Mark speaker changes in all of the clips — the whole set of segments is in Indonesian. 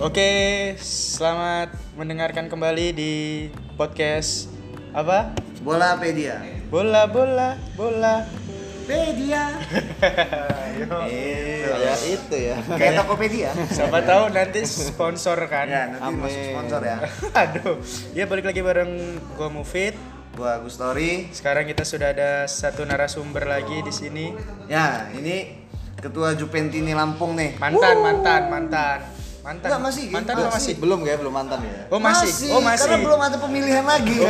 Speaker 1: Oke, selamat mendengarkan kembali di podcast apa?
Speaker 2: Bola Pedia.
Speaker 1: Bola bola bola.
Speaker 2: Pedia.
Speaker 3: Eh, ya itu ya.
Speaker 2: Kayak Tokopedia.
Speaker 1: Siapa tahu nanti sponsor kan.
Speaker 2: Ya, nanti masuk
Speaker 3: Amin.
Speaker 2: sponsor ya.
Speaker 1: Aduh. Ya balik lagi bareng gua Mufid.
Speaker 2: Gua Gustori.
Speaker 1: Sekarang kita sudah ada satu narasumber lagi di sini.
Speaker 2: Ya, ini ketua Jupentini Lampung nih.
Speaker 1: Mantan, mantan, mantan. Mantan.
Speaker 2: Enggak, masih,
Speaker 1: Mantan
Speaker 2: enggak,
Speaker 1: atau masih?
Speaker 3: Belum ya, belum mantan ya.
Speaker 1: Oh, masih. Oh, masih. Oh.
Speaker 2: Karena belum ada pemilihan lagi.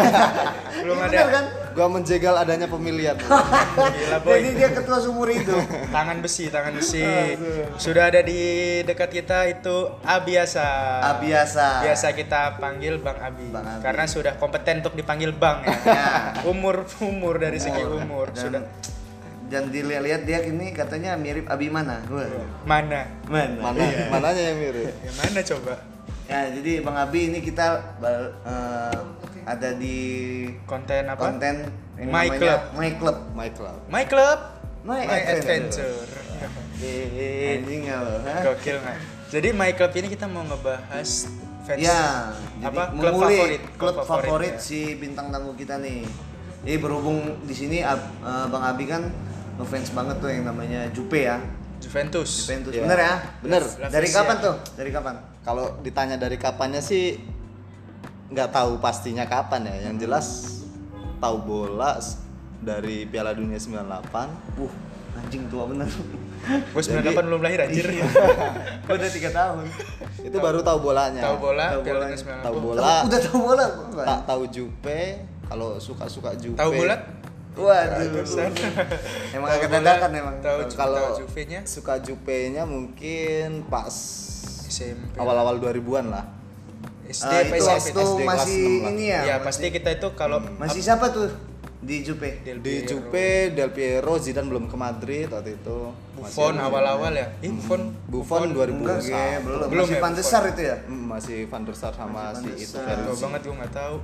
Speaker 1: Belum
Speaker 2: Iya,
Speaker 1: ada.
Speaker 2: bener kan?
Speaker 3: Gua menjegal adanya pemilihan.
Speaker 1: Iya. Gila, boy.
Speaker 2: Jadi dia ketua sumur itu.
Speaker 1: Tangan besi, tangan besi. Sudah ada di dekat kita itu Abiasa.
Speaker 2: Abiasa.
Speaker 1: Ah, Biasa kita panggil Bang Abi,
Speaker 2: Bang Abi.
Speaker 1: karena sudah kompeten untuk dipanggil Bang ya.
Speaker 2: Ya.
Speaker 1: umur umur dari segi umur
Speaker 2: Oh. Dan,
Speaker 1: sudah
Speaker 2: dan dilihat-lihat dia ini katanya mirip Abimana. Wah.
Speaker 1: Iya.
Speaker 2: iya.
Speaker 1: mana?
Speaker 2: Mana?
Speaker 3: Mana mananya yang mirip?
Speaker 1: Yang mana coba?
Speaker 2: Ya, jadi Bang Abi ini kita bal- eh, ada di
Speaker 1: Konten apa?
Speaker 2: konten yang
Speaker 1: My
Speaker 2: namanya
Speaker 1: Club.
Speaker 2: My Club.
Speaker 3: My Cloud.
Speaker 1: My Club,
Speaker 2: My
Speaker 1: Adventure.
Speaker 2: Anjing ya lo, ha?
Speaker 1: Gokil nggak? Jadi My Club ini kita mau ngebahas fans
Speaker 2: Ya, jadi
Speaker 1: apa klub
Speaker 2: mengulik
Speaker 1: favorit
Speaker 2: klub favorit,
Speaker 1: ya.
Speaker 2: si bintang tamu kita nih. Jadi berhubung di sini Ab- eh, Bang Abi kan ngefans banget tuh yang namanya Jupe ya.
Speaker 1: Juventus.
Speaker 2: Juventus.
Speaker 3: Iya.
Speaker 2: Bener ya?
Speaker 3: Bener.
Speaker 2: Dari kapan tuh? Dari kapan?
Speaker 3: Kalau ditanya dari kapannya sih nggak tahu pastinya kapan ya. Yang jelas tahu bola s- dari Piala Dunia 98.
Speaker 2: Uh, anjing tua bener.
Speaker 1: Gue
Speaker 3: Jadi-
Speaker 1: 98 belum lahir anjir.
Speaker 2: Iya. Gua udah 3 tahun.
Speaker 3: Itu baru tahu bolanya.
Speaker 1: Tahu bola,
Speaker 2: Tahu
Speaker 1: Piala
Speaker 2: bola.
Speaker 1: Dunia 90.
Speaker 3: Tahu bola.
Speaker 2: Udah tahu bola gua, Bang.
Speaker 3: Tak tahu Jupe. Kalau suka-suka Jupe.
Speaker 1: Tahu bola?
Speaker 2: Waduh.
Speaker 1: Barusan.
Speaker 2: Emang
Speaker 1: Tahu
Speaker 2: agak
Speaker 1: bola,
Speaker 2: dadakan emang.
Speaker 1: Tahu
Speaker 3: Tahu
Speaker 1: kalau
Speaker 3: kalau-
Speaker 1: Juve-nya
Speaker 3: Suka Jupe-nya mungkin pas
Speaker 1: SMP.
Speaker 3: awal-awal 2000-an lah.
Speaker 1: SD
Speaker 2: Eh,
Speaker 1: apa
Speaker 2: itu
Speaker 1: SMP?
Speaker 2: waktu
Speaker 3: SD kelas
Speaker 2: masih
Speaker 3: 6 lah.
Speaker 2: ini
Speaker 1: Ya,
Speaker 2: ya.
Speaker 1: pasti kita itu kalau
Speaker 2: Masih siapa tuh di Jupe?
Speaker 1: Del
Speaker 3: Di
Speaker 1: Piero,
Speaker 3: Jupe, Del Piero, Zidane belum ke Madrid waktu itu.
Speaker 1: Buffon
Speaker 3: Masih-
Speaker 1: awal-awal ya. Ih, Buffon.
Speaker 3: Buffon
Speaker 2: Enggak, Ge,
Speaker 3: 2000
Speaker 2: belum.
Speaker 1: Belum
Speaker 2: Masih
Speaker 1: ya,
Speaker 2: Pandesar itu ya?
Speaker 3: Mm, masih Van der Sar sama
Speaker 2: Masih Van der
Speaker 3: si itu
Speaker 2: Sar.
Speaker 3: Verzi.
Speaker 1: Gue banget gue nggak tahu.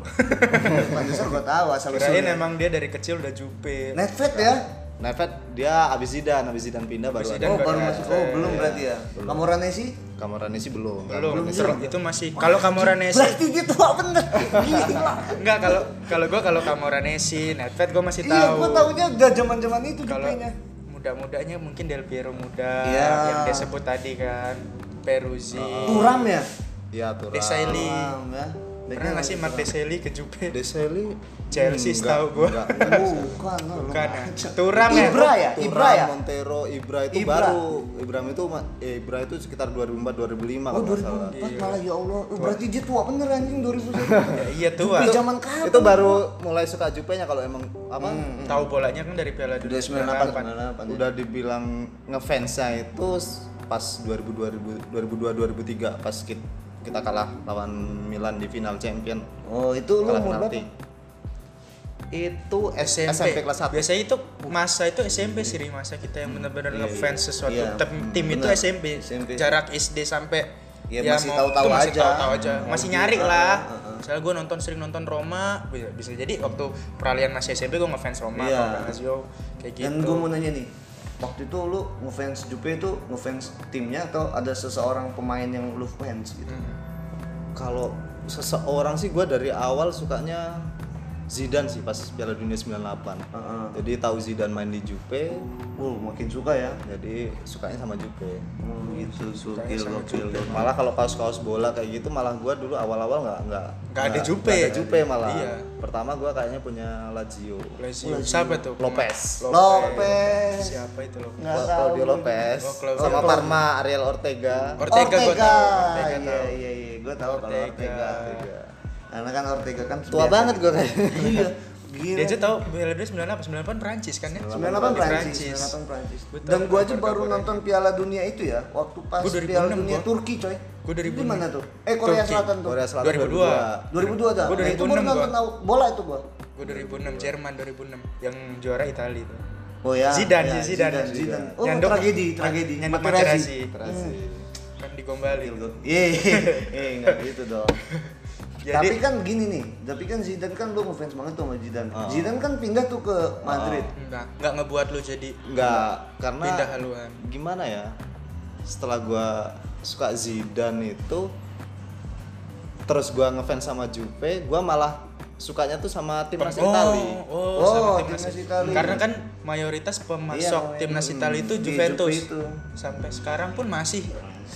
Speaker 2: Pandesar gua tahu asal
Speaker 1: Kirain
Speaker 2: usulnya.
Speaker 1: emang dia dari kecil udah Jupe.
Speaker 2: Netflix ya?
Speaker 3: Nevet Nah, dia abis Zidane, abis Zidane pindah baru
Speaker 1: Abis
Speaker 3: ada.
Speaker 1: Dan Zidane.
Speaker 2: oh, baru
Speaker 1: baru
Speaker 2: masuk.
Speaker 1: ada.
Speaker 2: Oh, belum berarti ya.
Speaker 3: Belum.
Speaker 2: Kamurannya sih?
Speaker 3: Kamarane sih belum.
Speaker 1: Belum.
Speaker 3: Kamarane sih-
Speaker 1: Ter- itu masih kalau Camoranesi
Speaker 2: Berarti dia tua bener. Gila.
Speaker 1: enggak kalau kalau gue kalau Camoranesi, Netfet gue masih
Speaker 2: Iya,
Speaker 1: tahu.
Speaker 2: gua tahunya udah zaman-zaman itu
Speaker 1: Kalau
Speaker 2: jupenya.
Speaker 1: muda-mudanya mungkin Del Piero muda
Speaker 2: Iya.
Speaker 1: yang dia sebut tadi kan. Peruzzi,
Speaker 2: Turam ya?
Speaker 3: Iya tuh.
Speaker 1: Desailly.
Speaker 2: Turam ya.
Speaker 1: Pernah nggak sih Mark Deseli ke Jupe?
Speaker 3: Desailly.
Speaker 1: Chelsea
Speaker 3: Hmm,
Speaker 1: setahu gua.
Speaker 3: enggak, enggak.
Speaker 2: Bukan, lu
Speaker 1: Bukan ya.
Speaker 2: ngaca.
Speaker 1: Turam ya?
Speaker 2: Ibra ya?
Speaker 3: Turam,
Speaker 2: Ibra ya?
Speaker 3: Montero, Ibra itu
Speaker 2: Ibra.
Speaker 3: baru. Ibra itu ma- eh, Ibra itu sekitar 2004 2005
Speaker 2: Oh
Speaker 3: kalau nggak salah.
Speaker 1: Iya.
Speaker 2: 2004 malah ya Allah, Oh, berarti dia tua bener anjing 2001.
Speaker 1: Ya, iya tua.
Speaker 2: Jupe zaman kapan?
Speaker 3: Itu baru mulai suka Jupenya kalau emang apa?
Speaker 1: Tahu bolanya kan dari Piala Dunia
Speaker 2: Udah 98.
Speaker 3: udah dibilang ngefansnya itu s- pas 2000 2002 2003 pas kit- kita kalah lawan Milan di final champion
Speaker 2: Oh, itu lu
Speaker 3: kalah
Speaker 2: umur berapa?
Speaker 3: penalti itu SMP,
Speaker 1: SMP,
Speaker 3: kelas 1
Speaker 1: Biasanya itu masa itu SMP sih Ri, masa kita yang benar-benar ngefans sesuatu
Speaker 2: Iya,
Speaker 1: tem- tim, itu
Speaker 2: benar.
Speaker 1: SMP.
Speaker 2: SMP.
Speaker 1: Jarak SD sampai
Speaker 2: Ya, masih
Speaker 1: mau-
Speaker 2: tahu-tahu
Speaker 1: itu masih
Speaker 2: aja.
Speaker 1: tahu-tahu aja.
Speaker 2: Mau
Speaker 1: Masih
Speaker 2: di-
Speaker 1: nyari
Speaker 2: ah,
Speaker 1: lah.
Speaker 2: ah, ah.
Speaker 1: Misalnya gue nonton sering nonton Roma, bisa, bisa jadi waktu peralihan masih SMP gue ngefans Roma,
Speaker 2: Iya.
Speaker 1: kalau Lazio kayak gitu.
Speaker 2: Dan gue mau nanya nih, waktu itu lu ngefans Jupe itu ngefans timnya atau ada seseorang pemain yang lu fans gitu?
Speaker 1: Hmm.
Speaker 3: kalau seseorang sih gua dari awal sukanya Zidane sih pas Piala Dunia 98
Speaker 2: Heeh.
Speaker 3: jadi tahu Zidane main di Jupe
Speaker 2: Wow, makin suka ya.
Speaker 3: jadi sukanya sama Jupe
Speaker 2: Oh, gitu, sugil,
Speaker 1: sama
Speaker 2: gokil.
Speaker 3: malah kalau kaos-kaos bola kayak gitu malah gua dulu awal-awal nggak nggak
Speaker 1: Nggak ada Jupe.
Speaker 3: nggak ada Jupe ya? malah
Speaker 1: Iya.
Speaker 3: pertama gua kayaknya punya Lazio
Speaker 1: Lazio. Siapa tuh?
Speaker 3: Lopez.
Speaker 2: Lopez.
Speaker 1: Siapa itu Lopez?
Speaker 2: Nggak
Speaker 3: Cla-
Speaker 2: tahu.
Speaker 3: Claudio Lopez
Speaker 1: Oh, Claudio.
Speaker 3: sama
Speaker 1: Oh, Claudio.
Speaker 3: Parma Ariel Ortega
Speaker 1: Ortega, gua tahu. Ortega
Speaker 2: Iya,
Speaker 1: tahu.
Speaker 2: iya, iya. Gue tahu kalau
Speaker 1: Ortega.
Speaker 2: Ortega.
Speaker 3: Ortega.
Speaker 2: Karena kan Ortega kan biasa
Speaker 3: tua banget
Speaker 2: gitu.
Speaker 3: gua kayaknya
Speaker 2: Iya.
Speaker 1: Dia aja
Speaker 2: Gila.
Speaker 1: tahu Piala Dunia 98, 98 Prancis kan ya?
Speaker 2: 98 Prancis, 98
Speaker 1: Prancis.
Speaker 2: Prancis.
Speaker 1: Gua tahu
Speaker 2: Dan gua aja
Speaker 1: kabar
Speaker 2: baru
Speaker 1: kabarnya.
Speaker 2: nonton Piala Dunia itu ya, waktu pas
Speaker 1: Gua 2006
Speaker 2: Piala Dunia
Speaker 1: gua.
Speaker 2: Turki, coy.
Speaker 1: Gua 2006.
Speaker 2: Di mana tuh? Eh, Korea
Speaker 1: Turki.
Speaker 2: Selatan tuh. Iya.
Speaker 3: Korea Selatan
Speaker 1: 2002.
Speaker 2: 2002 dah.
Speaker 1: Gua
Speaker 2: Nah, itu baru
Speaker 1: 2006
Speaker 2: nonton
Speaker 1: gua.
Speaker 2: au- bola itu gua.
Speaker 1: Gue 2006 Jerman 2006 yang juara Italia itu.
Speaker 2: Oh ya.
Speaker 1: Zidane,
Speaker 2: ya,
Speaker 1: sih, Zidane,
Speaker 2: Zidane, Zidane. Oh,
Speaker 1: Nyandok-
Speaker 2: tragedi, tragedi.
Speaker 1: Nyandok
Speaker 2: Materazzi. Hmm.
Speaker 1: Materazzi. Kan
Speaker 2: Iya,
Speaker 1: digombalin.
Speaker 2: Yeay, eh nggak gitu dong.
Speaker 1: Jadi-
Speaker 2: tapi kan gini nih, tapi kan Zidane kan lu ngefans banget tuh sama Zidane.
Speaker 3: Ah.
Speaker 2: Zidane kan pindah tuh ke Madrid.
Speaker 1: Enggak, enggak ngebuat lu jadi
Speaker 3: nggak karena
Speaker 1: pindah haluan.
Speaker 3: gimana ya setelah gua suka Zidane itu terus gua ngefans sama Juve gua malah sukanya tuh sama timnas
Speaker 1: Oh,
Speaker 3: Itali
Speaker 1: Oh,
Speaker 2: Oh,
Speaker 1: sama
Speaker 2: timnas Itali.
Speaker 1: Karena kan mayoritas pemasok
Speaker 2: Iya,
Speaker 1: timnas
Speaker 2: hmm,
Speaker 1: Itali itu
Speaker 2: di
Speaker 1: Juventus.
Speaker 2: Juve itu.
Speaker 1: Sampai sekarang pun masih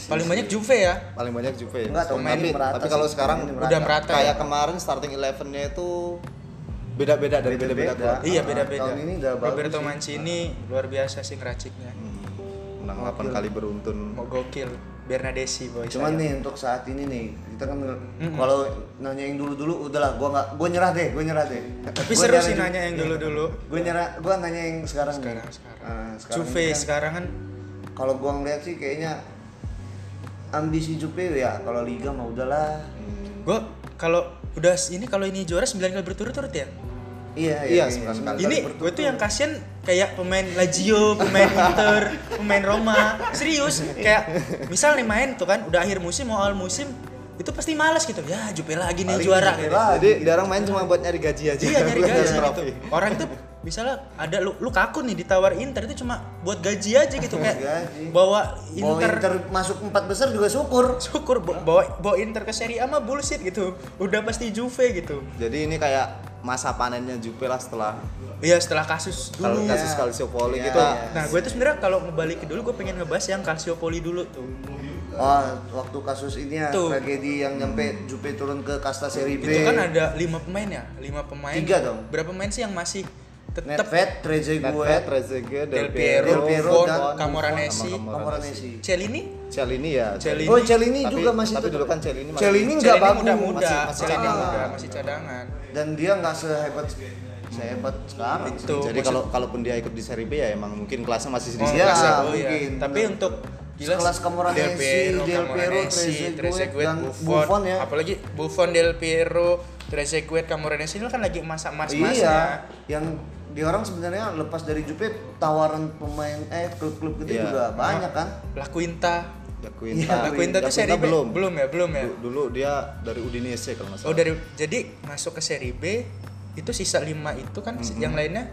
Speaker 1: paling banyak Juve ya.
Speaker 3: paling banyak Juve
Speaker 2: Enggak, tahun
Speaker 3: tapi,
Speaker 2: ini merata
Speaker 3: tapi
Speaker 2: sih,
Speaker 3: kalau
Speaker 2: tahun
Speaker 3: sekarang
Speaker 2: ini
Speaker 1: merata. Udah merata
Speaker 3: kayak
Speaker 1: ya?
Speaker 3: kemarin starting elevennya itu beda-beda dari beda-beda
Speaker 2: Beda-beda.
Speaker 3: klub.
Speaker 1: Iya, beda-beda.
Speaker 2: Nah, tahun ini udah bagus
Speaker 1: Roberto
Speaker 2: sih.
Speaker 1: Mancini luar biasa sih ngeraciknya. Hmm.
Speaker 3: menang 8 kali beruntun
Speaker 1: Mau gokil. Bernadesi boy.
Speaker 2: Cuman
Speaker 1: saya.
Speaker 2: nih untuk saat ini nih, kita kan kalau nanya yang dulu-dulu udahlah, gua nggak gua nyerah deh, gua nyerah deh.
Speaker 1: tapi
Speaker 2: Gua
Speaker 1: seru
Speaker 2: nyerah
Speaker 1: sih
Speaker 2: dulu.
Speaker 1: nanya yang dulu-dulu.
Speaker 2: Gua nyerah, gua nanya yang sekarang. nih.
Speaker 1: Sekarang sekarang.
Speaker 2: Ah,
Speaker 1: Juve
Speaker 2: ini kan
Speaker 1: sekarang kan
Speaker 2: Kalau gua ngeliat sih kayaknya ambisi Juve ya kalau liga mah udahlah.
Speaker 1: gue kalau udah ini kalau ini juara 9 kali berturut-turut ya.
Speaker 2: Iya,
Speaker 3: Iya,
Speaker 2: iya,
Speaker 3: sembilan
Speaker 2: sembilan
Speaker 3: kali.
Speaker 2: kali.
Speaker 1: Ini gue tuh yang kasihan kayak pemain Lazio, pemain Inter, pemain Roma. Serius, kayak misal nih main tuh kan udah akhir musim mau awal musim itu pasti malas gitu. Ya, Jupe lagi nih
Speaker 2: Paling
Speaker 1: juara
Speaker 2: Juve
Speaker 1: gitu.
Speaker 2: lah.
Speaker 3: jadi jarang main cuma buat nyari gaji aja
Speaker 1: Iya nyari
Speaker 3: buat
Speaker 1: gaji gitu.
Speaker 3: trofi.
Speaker 1: Orang tuh misalnya ada lu, lu kaku nih ditawar Inter itu cuma buat gaji aja gitu
Speaker 2: Buat
Speaker 1: kayak
Speaker 2: gaji.
Speaker 1: bawa
Speaker 2: Mau
Speaker 1: Inter,
Speaker 2: Inter masuk empat besar juga syukur.
Speaker 1: syukur bo- bawa bawa Inter ke Serie A mah bullshit gitu. Udah pasti Juve gitu.
Speaker 3: jadi ini kayak masa panennya Juve lah setelah
Speaker 1: Iya setelah kasus dulu.
Speaker 3: kalau kasus
Speaker 2: Iya.
Speaker 3: Calciopoli
Speaker 2: Iya,
Speaker 3: kita
Speaker 2: iya.
Speaker 1: Nah, gue tuh sebenarnya kalau ngebalik ke dulu gue pengen ngebahas yang Calciopoli dulu tuh.
Speaker 2: Oh, waktu kasus ini ya,
Speaker 1: Tuh. Hmm.
Speaker 2: tragedi yang nyampe Juve turun ke kasta seri B.
Speaker 1: Itu kan ada lima pemain ya, lima pemain.
Speaker 2: Tiga dong.
Speaker 1: Berapa pemain sih yang masih tetap
Speaker 2: Nedved, Trezeguet,
Speaker 3: Nedved, Trezeguet,
Speaker 1: Del Piero,
Speaker 2: Del Piero,
Speaker 1: Von,
Speaker 2: dan
Speaker 1: Camoranesi,
Speaker 3: Buffon sama
Speaker 2: Camoranesi.
Speaker 1: Celini?
Speaker 3: Celini ya
Speaker 1: Celini.
Speaker 2: Oh, Celini
Speaker 3: Tapi-
Speaker 2: juga masih
Speaker 3: tapi
Speaker 2: tetap-
Speaker 3: dulu kan Celini masih-
Speaker 2: Celini
Speaker 1: Celini
Speaker 2: nggak bagus.
Speaker 1: muda muda,
Speaker 3: masih- masih
Speaker 1: Celini
Speaker 2: cadangan.
Speaker 1: muda masih cadangan.
Speaker 2: Dan dia nggak sehebat sehebat sekarang.
Speaker 1: Itu.
Speaker 3: jadi
Speaker 1: maksud-
Speaker 3: kalau kalaupun dia ikut di Serie B ya emang mungkin kelasnya masih di
Speaker 1: Oh,
Speaker 2: Iya,
Speaker 3: sini.
Speaker 1: kelasnya, oh, iya.
Speaker 2: mungkin.
Speaker 1: Tapi untuk gila
Speaker 2: Sekelas Camoranesi,
Speaker 1: Del Piero,
Speaker 2: Del Piero,
Speaker 1: Camoranesi,
Speaker 2: Trezeguet,
Speaker 1: Trezeguet,
Speaker 2: dan
Speaker 1: Buffon,
Speaker 2: Buffon ya.
Speaker 1: Apalagi Buffon, Del Piero, Trezeguet, Camoranesi itu kan lagi masa-masa-masanya.
Speaker 2: Iya, yang di orang sebenarnya lepas dari Juve tawaran pemain eh klub-klub gede
Speaker 3: Iya.
Speaker 2: juga banyak kan.
Speaker 1: La Quinta.
Speaker 2: Iya,
Speaker 3: Ya,
Speaker 1: La
Speaker 3: Quinta.
Speaker 1: Quinta
Speaker 3: La
Speaker 1: tuh seri B.
Speaker 3: belum.
Speaker 1: Belum ya, belum ya.
Speaker 3: Du- Dulu dia dari Udinese kalau nggak salah.
Speaker 1: Oh dari jadi masuk ke seri B itu sisa 5 itu kan
Speaker 3: Mm-hmm.
Speaker 1: si- yang lainnya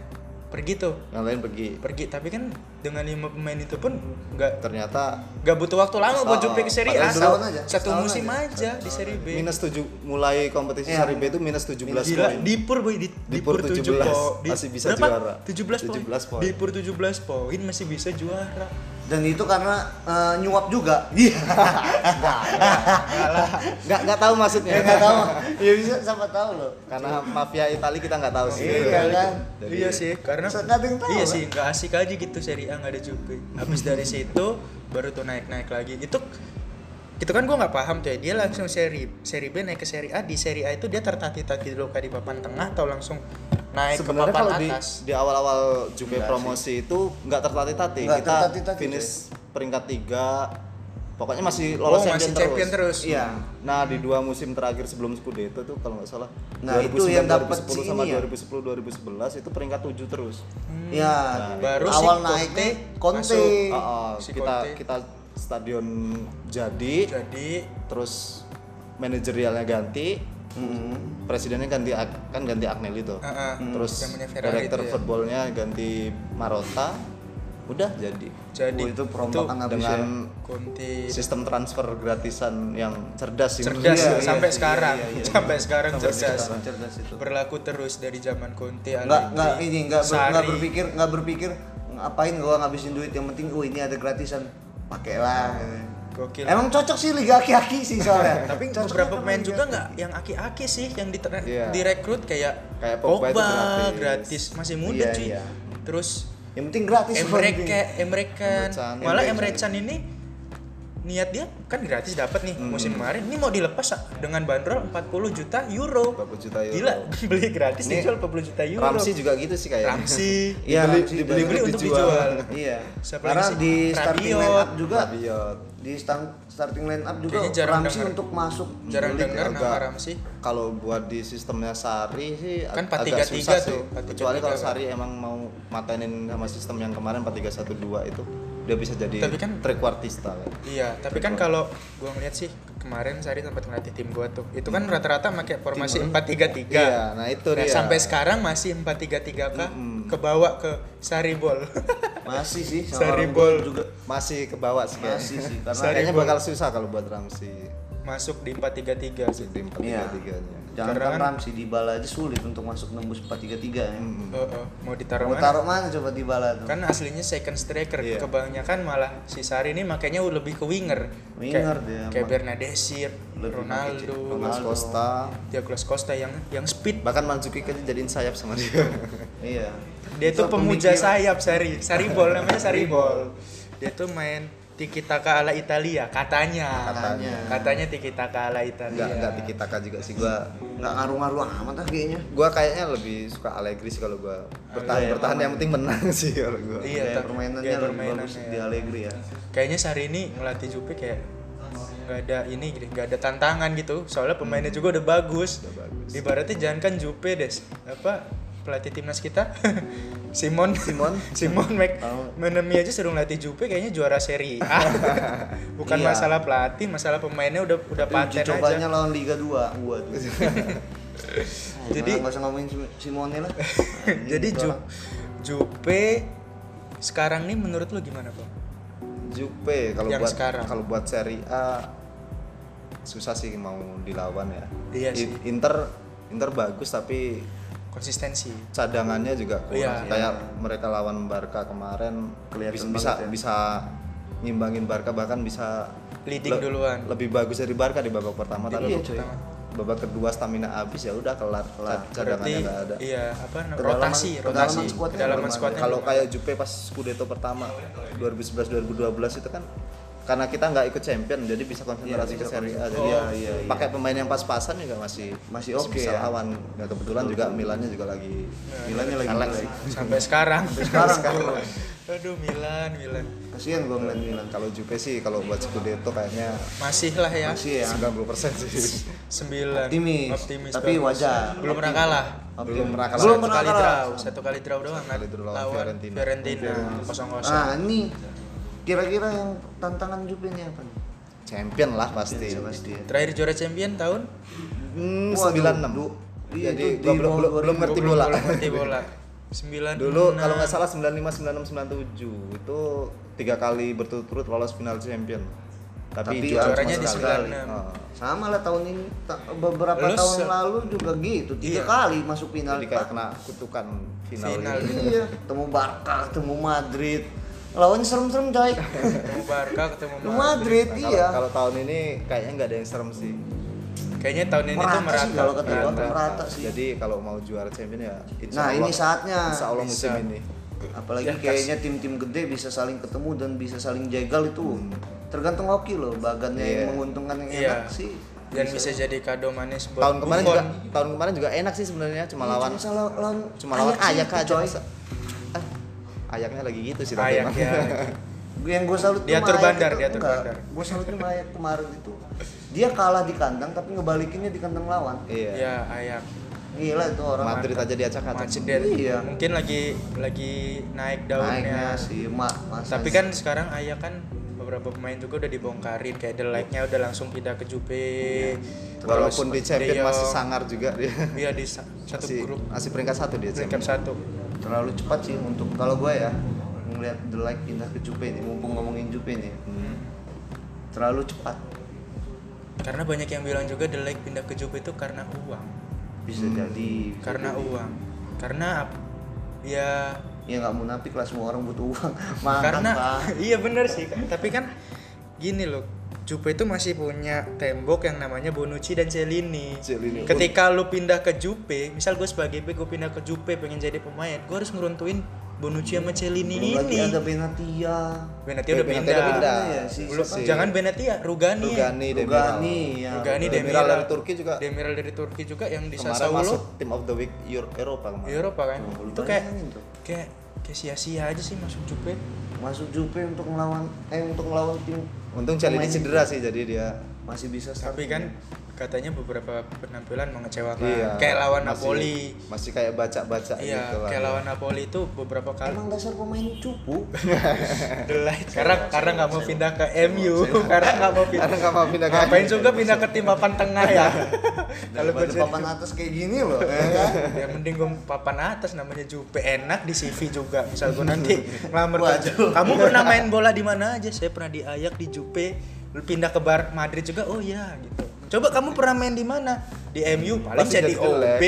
Speaker 1: pergi tuh
Speaker 3: Yang lain pergi.
Speaker 1: pergi tapi kan dengan lima pemain itu pun nggak
Speaker 3: Ternyata
Speaker 1: nggak butuh waktu lama buat
Speaker 3: Oh,
Speaker 1: jumpai ke seri A
Speaker 2: padahal setahun aja,
Speaker 1: satu
Speaker 2: setahun
Speaker 1: musim aja, di seri B
Speaker 3: minus 7 mulai kompetisi
Speaker 2: Iya.
Speaker 3: Serie B itu minus 17
Speaker 1: Gila,
Speaker 3: poin.
Speaker 1: Dipur boy, di,
Speaker 3: Dipur 17,
Speaker 1: po- di-
Speaker 3: masih bisa juara.
Speaker 1: 17 poin.
Speaker 3: 17 poin.
Speaker 1: Dipur 17 poin masih bisa juara.
Speaker 2: Dan itu karena eh, nyuap juga.
Speaker 3: Iya. Nggak nggak tahu maksudnya.
Speaker 2: Ya nggak tahu. Ya bisa siapa tahu loh.
Speaker 3: Karena mafia Itali kita nggak tahu sih.
Speaker 2: Iya kan?
Speaker 3: Jadi-
Speaker 1: iya sih, karena
Speaker 2: Nggak ada yang tahu
Speaker 1: iya
Speaker 2: kan?
Speaker 1: sih, nggak asik aja gitu seri A nggak ada Jupe. Habis dari situ baru tuh naik-naik lagi. Itu itu kan gua nggak paham tuh ya. Dia langsung seri seri B naik ke seri A. Di seri A itu dia tertatih-tatih dulu kayak di papan tengah atau langsung naik
Speaker 3: Sebenarnya
Speaker 1: ke papan
Speaker 3: kalau di,
Speaker 1: atas.
Speaker 3: di awal-awal Juve promosi itu nggak tertatih-tatih.
Speaker 2: Nggak
Speaker 3: Kita
Speaker 2: tertatih-tatih,
Speaker 3: finish peringkat 3 pokoknya masih lolos
Speaker 1: oh, masih champion terus.
Speaker 2: Iya.
Speaker 3: Nah, di dua musim terakhir sebelum Scudetto tuh kalau nggak salah
Speaker 2: Nah, itu yang dapat
Speaker 3: 2010
Speaker 2: si
Speaker 3: sama
Speaker 2: ini ya?
Speaker 3: 2010 2011 itu peringkat 7 terus.
Speaker 2: Ya,
Speaker 1: Hmm. Baru si
Speaker 2: awal
Speaker 1: Conte
Speaker 2: naiknya Conte.
Speaker 1: masuk.
Speaker 3: Oh, oh,
Speaker 1: Si
Speaker 3: kita
Speaker 1: Conte.
Speaker 3: kita stadion jadi
Speaker 1: Hmm, Jadi
Speaker 3: terus manajerialnya ganti,
Speaker 2: Hmm.
Speaker 3: presidennya ganti Ag- kan ganti Agnelli tuh.
Speaker 1: Heeh,
Speaker 3: Terus
Speaker 1: zamannya Ferrari
Speaker 3: direktur
Speaker 1: itu ya.
Speaker 3: footballnya ganti Marotta. Udah jadi
Speaker 1: jadi
Speaker 2: Oh, itu perombakan Habis
Speaker 3: dengan
Speaker 1: Conte
Speaker 3: sistem transfer gratisan yang cerdas sih menurut
Speaker 1: cerdas
Speaker 2: Iya,
Speaker 3: gue.
Speaker 2: iya,
Speaker 1: sampai
Speaker 2: iya,
Speaker 1: sekarang
Speaker 2: iya, iya, iya.
Speaker 1: sampai sekarang
Speaker 2: Sampai
Speaker 1: cerdas
Speaker 2: sekarang cerdas itu.
Speaker 1: berlaku terus dari zaman Conte
Speaker 2: Nggak
Speaker 1: Allegri,
Speaker 2: nggak ini nggak ber- nggak
Speaker 1: Sarri.
Speaker 2: berpikir nggak berpikir ngapain gua ngabisin duit yang penting oh ini ada gratisan pakailah
Speaker 1: Gokil.
Speaker 2: emang cocok sih liga aki-aki sih soalnya
Speaker 1: tapi
Speaker 2: Cocoknya
Speaker 1: beberapa
Speaker 2: sama
Speaker 1: pemain
Speaker 2: liga
Speaker 1: juga nggak yang aki-aki sih yang diter-
Speaker 3: Iya.
Speaker 1: direkrut kayak
Speaker 3: Kayak Pogba itu gratis.
Speaker 1: masih muda
Speaker 2: Iya,
Speaker 1: cuy
Speaker 2: iya.
Speaker 1: terus
Speaker 2: yang penting gratis
Speaker 1: Emre
Speaker 2: penting.
Speaker 1: Ke- Emre Can.
Speaker 3: Emre Can.
Speaker 1: malah Emre
Speaker 3: Emre
Speaker 1: Can ini niat dia kan gratis dapat nih
Speaker 3: Hmm.
Speaker 1: musim kemarin ini mau dilepas ah, dengan bandrol 40 juta euro
Speaker 3: 40 juta euro.
Speaker 1: gila beli gratis
Speaker 3: Ini
Speaker 1: dijual 40 juta euro
Speaker 3: Ramsey juga gitu sih kayaknya.
Speaker 1: Iya, Ramsey
Speaker 2: Iya,
Speaker 3: Dibeli-
Speaker 2: Ramsey.
Speaker 3: dibeli
Speaker 1: Dibeli
Speaker 3: untuk
Speaker 1: untuk
Speaker 3: dijual.
Speaker 1: dijual.
Speaker 2: iya
Speaker 1: Siapa
Speaker 2: karena
Speaker 1: lagi sih?
Speaker 2: di starting
Speaker 1: Rabiot.
Speaker 2: line up juga
Speaker 3: Rabiot.
Speaker 2: di stan- starting line up juga
Speaker 1: Kayaknya jarang
Speaker 2: Ramsey
Speaker 1: denger.
Speaker 2: untuk masuk
Speaker 1: jarang
Speaker 2: liga.
Speaker 1: dengar nama
Speaker 3: agak-
Speaker 1: Ramsey
Speaker 3: Kalau buat di sistemnya Sari sih
Speaker 1: Kan
Speaker 3: ag-
Speaker 1: 4-3-3
Speaker 3: susah sih.
Speaker 1: tuh, 4-3-3
Speaker 3: Kecuali kalau
Speaker 1: kan.
Speaker 3: Sari emang mau matenin sama sistem yang kemarin 4312 itu dia bisa jadi
Speaker 1: Tapi kan-
Speaker 3: trequartista kan.
Speaker 1: Iya, tapi kan kalau gua ngeliat sih kemarin Sari tempat ngelatih tim gua tuh. Itu
Speaker 2: Hmm.
Speaker 1: kan rata-rata pakai formasi 4-3-3.
Speaker 3: Iya, nah itu
Speaker 1: Nah,
Speaker 3: dia.
Speaker 1: sampai sekarang masih 4-3-3 kah? Kebawa ke Sari Ball.
Speaker 2: masih sih sama
Speaker 1: Sari
Speaker 2: orang
Speaker 1: Bol.
Speaker 2: juga
Speaker 3: masih kebawa sih. kayaknya.
Speaker 2: Masih sih, karena
Speaker 3: Kayaknya
Speaker 1: Sari
Speaker 3: bakal susah kalau buat Ramsey.
Speaker 1: masuk di 433
Speaker 3: tim empat
Speaker 2: Iya.
Speaker 3: tiga tiganya
Speaker 2: Jangan
Speaker 1: Karena
Speaker 2: kan
Speaker 1: kan-
Speaker 2: Ramsey Dybala aja sulit untuk masuk nembus 433 ya.
Speaker 1: Oh, oh. mau ditaruh
Speaker 2: Mau
Speaker 1: mana?
Speaker 2: taruh mana coba Dybala tuh?
Speaker 1: Kan aslinya second striker,
Speaker 3: Iya.
Speaker 1: kebanyakan malah si Sari ini makanya lebih ke winger.
Speaker 2: Winger
Speaker 1: kayak,
Speaker 2: dia.
Speaker 1: Kayak Bernadesir,
Speaker 2: Lebih
Speaker 1: Ronaldo,
Speaker 3: Mas Costa
Speaker 1: Douglas Costa yang yang speed.
Speaker 3: bahkan Manzuki kan jadiin sayap sama dia
Speaker 2: Iya.
Speaker 1: Dia
Speaker 2: Itu
Speaker 1: tuh pemuja
Speaker 2: pemikiran.
Speaker 1: sayap Sari, Saribol namanya Saribol. Dia tuh main tiki taka ala Italia katanya.
Speaker 2: Katanya.
Speaker 1: Katanya tiki taka ala Italia.
Speaker 3: nggak nggak tiki taka juga sih gua
Speaker 2: Nggak ngaruh-ngaruh amat lah kayaknya.
Speaker 3: gua kayaknya lebih suka Allegri sih kalau gua bertahan
Speaker 2: Iya,
Speaker 3: bertahan
Speaker 2: emang.
Speaker 3: yang penting menang sih kalau gua
Speaker 1: Iya,
Speaker 2: Gaya
Speaker 1: tapi-
Speaker 2: permainannya
Speaker 1: gaya
Speaker 2: lebih
Speaker 1: permainan,
Speaker 2: bagus
Speaker 1: iya.
Speaker 2: di Allegri ya.
Speaker 1: Kayaknya Sari ini ngelatih Jupe kayak nggak ada ini gitu, nggak ada tantangan gitu. Soalnya pemainnya juga udah bagus.
Speaker 3: Udah bagus.
Speaker 1: Ibaratnya jangan kan Jupe des, apa pelatih timnas kita Simon
Speaker 3: Simon?
Speaker 1: Simon Mac
Speaker 2: Tahu.
Speaker 1: Menemi aja suruh ngelatih Jupe kayaknya juara seri A. Bukan
Speaker 2: Iya.
Speaker 1: masalah pelatih, masalah pemainnya udah udah
Speaker 2: Uji
Speaker 1: paten
Speaker 2: cobanya
Speaker 1: aja.
Speaker 2: lawan Liga 2 gua tuh. Nah,
Speaker 1: Jadi-
Speaker 2: nggak usah ngomongin Sim- Simone lah. Anjing,
Speaker 1: Jadi
Speaker 3: Gitu
Speaker 2: itu
Speaker 1: Ju
Speaker 2: orang.
Speaker 1: Jupe sekarang nih menurut lu gimana, Bang?
Speaker 3: Jupe kalau
Speaker 1: Yang
Speaker 3: buat
Speaker 1: sekarang.
Speaker 3: kalau buat Serie A susah sih mau dilawan ya.
Speaker 1: Iya
Speaker 3: I-
Speaker 1: sih.
Speaker 3: Inter Inter bagus tapi
Speaker 1: Konsistensi.
Speaker 3: cadangannya juga kurang.
Speaker 1: Iya.
Speaker 3: Kayak mereka lawan Barca kemarin
Speaker 2: Kelihatan
Speaker 3: bis- bisa
Speaker 2: banget ya.
Speaker 3: bisa ngimbangin Barca bahkan bisa
Speaker 1: Leading duluan. ya,
Speaker 3: Lebih bagus dari Barca di babak pertama tapi
Speaker 2: Iya,
Speaker 3: babak-
Speaker 2: cuy.
Speaker 3: babak kedua stamina habis ya udah kelar kelar
Speaker 1: Berarti
Speaker 3: cadangannya nggak ada.
Speaker 1: iya apa namanya?
Speaker 2: Kedalaman-
Speaker 1: rotasi,
Speaker 2: kedalaman
Speaker 1: rotasi.
Speaker 2: skuadnya
Speaker 1: Kedalaman
Speaker 2: belum ada.
Speaker 1: skuadnya
Speaker 3: kalau
Speaker 1: belum ada.
Speaker 3: kayak Jupe pas Scudetto pertama 2011-2012 itu kan karena kita nggak ikut champion jadi bisa konsentrasi
Speaker 2: Iya, bisa
Speaker 3: ke Serie A
Speaker 2: konsentrasi.
Speaker 3: jadi ya
Speaker 2: Oh, iya, iya.
Speaker 3: pakai pemain yang pas-pasan juga masih
Speaker 2: Masih oke
Speaker 3: bisa
Speaker 2: ya.
Speaker 3: lawan nah, kebetulan juga Milannya juga lagi
Speaker 2: Iya, Milannya lagi
Speaker 3: Elek
Speaker 2: jelek.
Speaker 3: sih.
Speaker 1: sampai sekarang.
Speaker 2: Sekarang tuh.
Speaker 1: Aduh Milan, Milan.
Speaker 2: Kasihan gua ngeliat Milan.
Speaker 3: kalau Jupe sih kalau buat Scudetto kayaknya
Speaker 1: Masih lah ya.
Speaker 2: Masih ya.
Speaker 3: 90% sih
Speaker 1: Sembilan.
Speaker 2: Optimis.
Speaker 1: Optimis
Speaker 2: Tapi
Speaker 1: bagus.
Speaker 2: wajar.
Speaker 1: Belum pernah kalah.
Speaker 3: Belum pernah kalah.
Speaker 2: Belum
Speaker 1: Satu
Speaker 2: pernah
Speaker 1: kali
Speaker 2: kalah. Nah,
Speaker 1: draw, satu kali draw doang kan.
Speaker 3: kali draw lawan
Speaker 1: Lawan
Speaker 3: Fiorentina. Ah.
Speaker 1: Fiorentina kosong kosong.
Speaker 2: Nah, ini kira-kira yang tantangan Jupe ini apa nih?
Speaker 3: champion lah pasti
Speaker 2: Bisa pasti ya.
Speaker 1: Terakhir juara champion tahun
Speaker 3: hmm,
Speaker 2: Waduh,
Speaker 3: 96
Speaker 2: du- iya,
Speaker 3: jadi
Speaker 2: itu
Speaker 3: gua
Speaker 2: di
Speaker 3: belum
Speaker 2: bawah
Speaker 3: belum- belum ngerti bola
Speaker 1: Belum ngerti bola. Sembilan.
Speaker 3: dulu
Speaker 1: enam.
Speaker 3: kalau nggak salah 95 96 97 itu tiga kali berturut-turut lolos final champion
Speaker 2: Tapi
Speaker 3: tapi, juara
Speaker 1: juaranya
Speaker 3: cuma
Speaker 1: di
Speaker 3: sekali.
Speaker 1: 96.
Speaker 3: Oh.
Speaker 2: Sama lah tahun ini ta- beberapa
Speaker 1: Lu
Speaker 2: tahun
Speaker 1: se-
Speaker 2: lalu juga gitu. Tiga
Speaker 1: Iya.
Speaker 2: kali masuk final. Ah,
Speaker 3: jadi kayak kena kutukan final,
Speaker 1: Final.
Speaker 3: gitu.
Speaker 2: Iya, ketemu Barca, ketemu Madrid. Lawannya serem-serem, coy.
Speaker 1: ketemu Barca ketemu
Speaker 2: Lu
Speaker 1: Madrid.
Speaker 2: Madrid,
Speaker 3: Nah, kalau-
Speaker 2: iya.
Speaker 3: kalau tahun ini kayaknya nggak ada yang serem sih
Speaker 1: Kayaknya tahun ini tuh
Speaker 2: Merata sih
Speaker 1: merata. Iya,
Speaker 2: kalau ketemu
Speaker 1: merata.
Speaker 2: Barca. Rata sih.
Speaker 3: jadi kalau mau juara champion ya insya
Speaker 2: Nah,
Speaker 3: Allah-
Speaker 2: ini saatnya.
Speaker 3: insya Allah musim
Speaker 1: Bisa.
Speaker 3: ini
Speaker 2: Apalagi
Speaker 1: Ya, kas-
Speaker 2: kayaknya tim-tim gede bisa saling ketemu dan bisa saling jegal itu. Tergantung hoki loh, bagannya
Speaker 3: Iya.
Speaker 2: yang menguntungkan yang
Speaker 1: Iya.
Speaker 2: enak sih.
Speaker 1: Dan bisa jadi kado manis buat
Speaker 3: tahun kemarin
Speaker 1: Buffon.
Speaker 3: juga tahun kemarin juga enak sih sebenarnya cuma lawan
Speaker 2: Iya, Cuma salah- lawan
Speaker 3: cuma lawan ayak
Speaker 2: Ajax itu,
Speaker 3: aja
Speaker 2: coy.
Speaker 3: masa- ah, ayaknya lagi gitu sih tapi
Speaker 1: Ayak
Speaker 3: emang.
Speaker 1: ya.
Speaker 2: Gue yang gue salut
Speaker 1: Diatur
Speaker 2: sama Ayak
Speaker 1: bandar,
Speaker 2: itu-
Speaker 1: diatur
Speaker 2: enggak,
Speaker 1: bandar.
Speaker 2: Gue salut sama Ayak kemarin itu. Dia kalah di kandang tapi ngebalikinnya di kandang lawan.
Speaker 3: iya
Speaker 1: Ya, ayak.
Speaker 2: Gila itu orang.
Speaker 3: Madrid aja diacak-acak
Speaker 1: Macet dia.
Speaker 2: Iya.
Speaker 1: Mungkin lagi lagi naik
Speaker 2: Naiknya
Speaker 1: daunnya.
Speaker 2: sih, mak.
Speaker 1: Tapi kan sekarang Ayak kan beberapa pemain juga udah dibongkarin kayak The Like-nya udah langsung pindah ke Juve.
Speaker 2: Iya.
Speaker 3: walaupun di
Speaker 1: Terus De
Speaker 3: champion
Speaker 1: Jong.
Speaker 3: masih sangar juga dia
Speaker 1: Iya di sa- satu
Speaker 3: masih,
Speaker 1: grup
Speaker 3: masih peringkat satu dia
Speaker 1: peringkat
Speaker 3: champion
Speaker 1: satu.
Speaker 2: terlalu cepat sih untuk kalau gue ya ngelihat the like pindah ke Jupe nih mumpung ngomongin Jupe nih terlalu cepat
Speaker 1: Karena banyak yang bilang juga The Like pindah ke Juve itu karena uang.
Speaker 2: bisa
Speaker 1: Hmm.
Speaker 2: jadi
Speaker 1: Karena uang. Karena ap- ya
Speaker 2: ya nggak munafik lah semua orang butuh uang makan
Speaker 1: karena
Speaker 2: Pak.
Speaker 1: iya bener sih tapi kan gini loh Juve itu masih punya tembok yang namanya Bonucci dan Celini.
Speaker 3: Chiellini.
Speaker 1: Ketika lu pindah ke Juve, misal gue sebagai bek gue pindah ke Juve pengen jadi pemain, gue harus ngeruntuin Bonucci sama Celini
Speaker 2: belum lagi
Speaker 1: ini.
Speaker 2: ada Benatia
Speaker 1: Benatia
Speaker 3: Eh,
Speaker 1: udah
Speaker 3: Benatia
Speaker 1: pindah.
Speaker 3: udah pindah.
Speaker 2: Iya, si-
Speaker 1: Belum-
Speaker 3: si-
Speaker 1: Jangan Benatia, Rugani.
Speaker 3: Rugani Demiral
Speaker 2: Rugani ya
Speaker 1: Rugani
Speaker 3: Demiral
Speaker 1: Demiral
Speaker 3: dari Turki juga.
Speaker 1: Demiral dari Turki juga yang di
Speaker 3: kemarin masuk Nah,
Speaker 1: Sassuolo
Speaker 3: tim of the week Euro- Eropa
Speaker 1: di
Speaker 3: kemarin
Speaker 1: Eropa kan.
Speaker 2: Oh, lu
Speaker 1: itu kayak
Speaker 2: bayangin tuh.
Speaker 1: kayak kayak sia-sia aja sih masuk Juve.
Speaker 2: masuk Jupe untuk melawan eh untuk melawan tim
Speaker 3: untung Celini
Speaker 2: pemain
Speaker 3: cedera sih jadi dia
Speaker 2: masih bisa start
Speaker 1: Tapi kan katanya beberapa penampilan mengecewakan.
Speaker 3: iya,
Speaker 1: Kayak lawan
Speaker 3: masih-
Speaker 1: Napoli.
Speaker 3: masih kayak baca-baca
Speaker 1: Iya,
Speaker 3: gitu lah
Speaker 1: kayak lawan Napoli itu beberapa kali
Speaker 2: emang dasar pemain cupu
Speaker 1: delay karena karena nggak mau pindah ke MU, karena nggak mau pindah.
Speaker 3: karena nggak mau pindah ke
Speaker 1: Ngapain juga pindah ke tim papan tengah ya? Kalau gue
Speaker 2: daripada
Speaker 1: jadi
Speaker 2: papan atas kayak gini loh ya kan?
Speaker 1: ya mending gue papan atas namanya Jupe enak di CV juga misal gue nanti ngelamar kerja.
Speaker 2: Waduh.
Speaker 1: kamu pernah main bola di mana aja saya pernah di Ayak di Jupe Lu pindah ke Bar Madrid juga oh iya gitu coba kamu pernah main di mana di MU paling
Speaker 2: Pasti
Speaker 1: jadi
Speaker 2: jelek-jelek.
Speaker 1: OB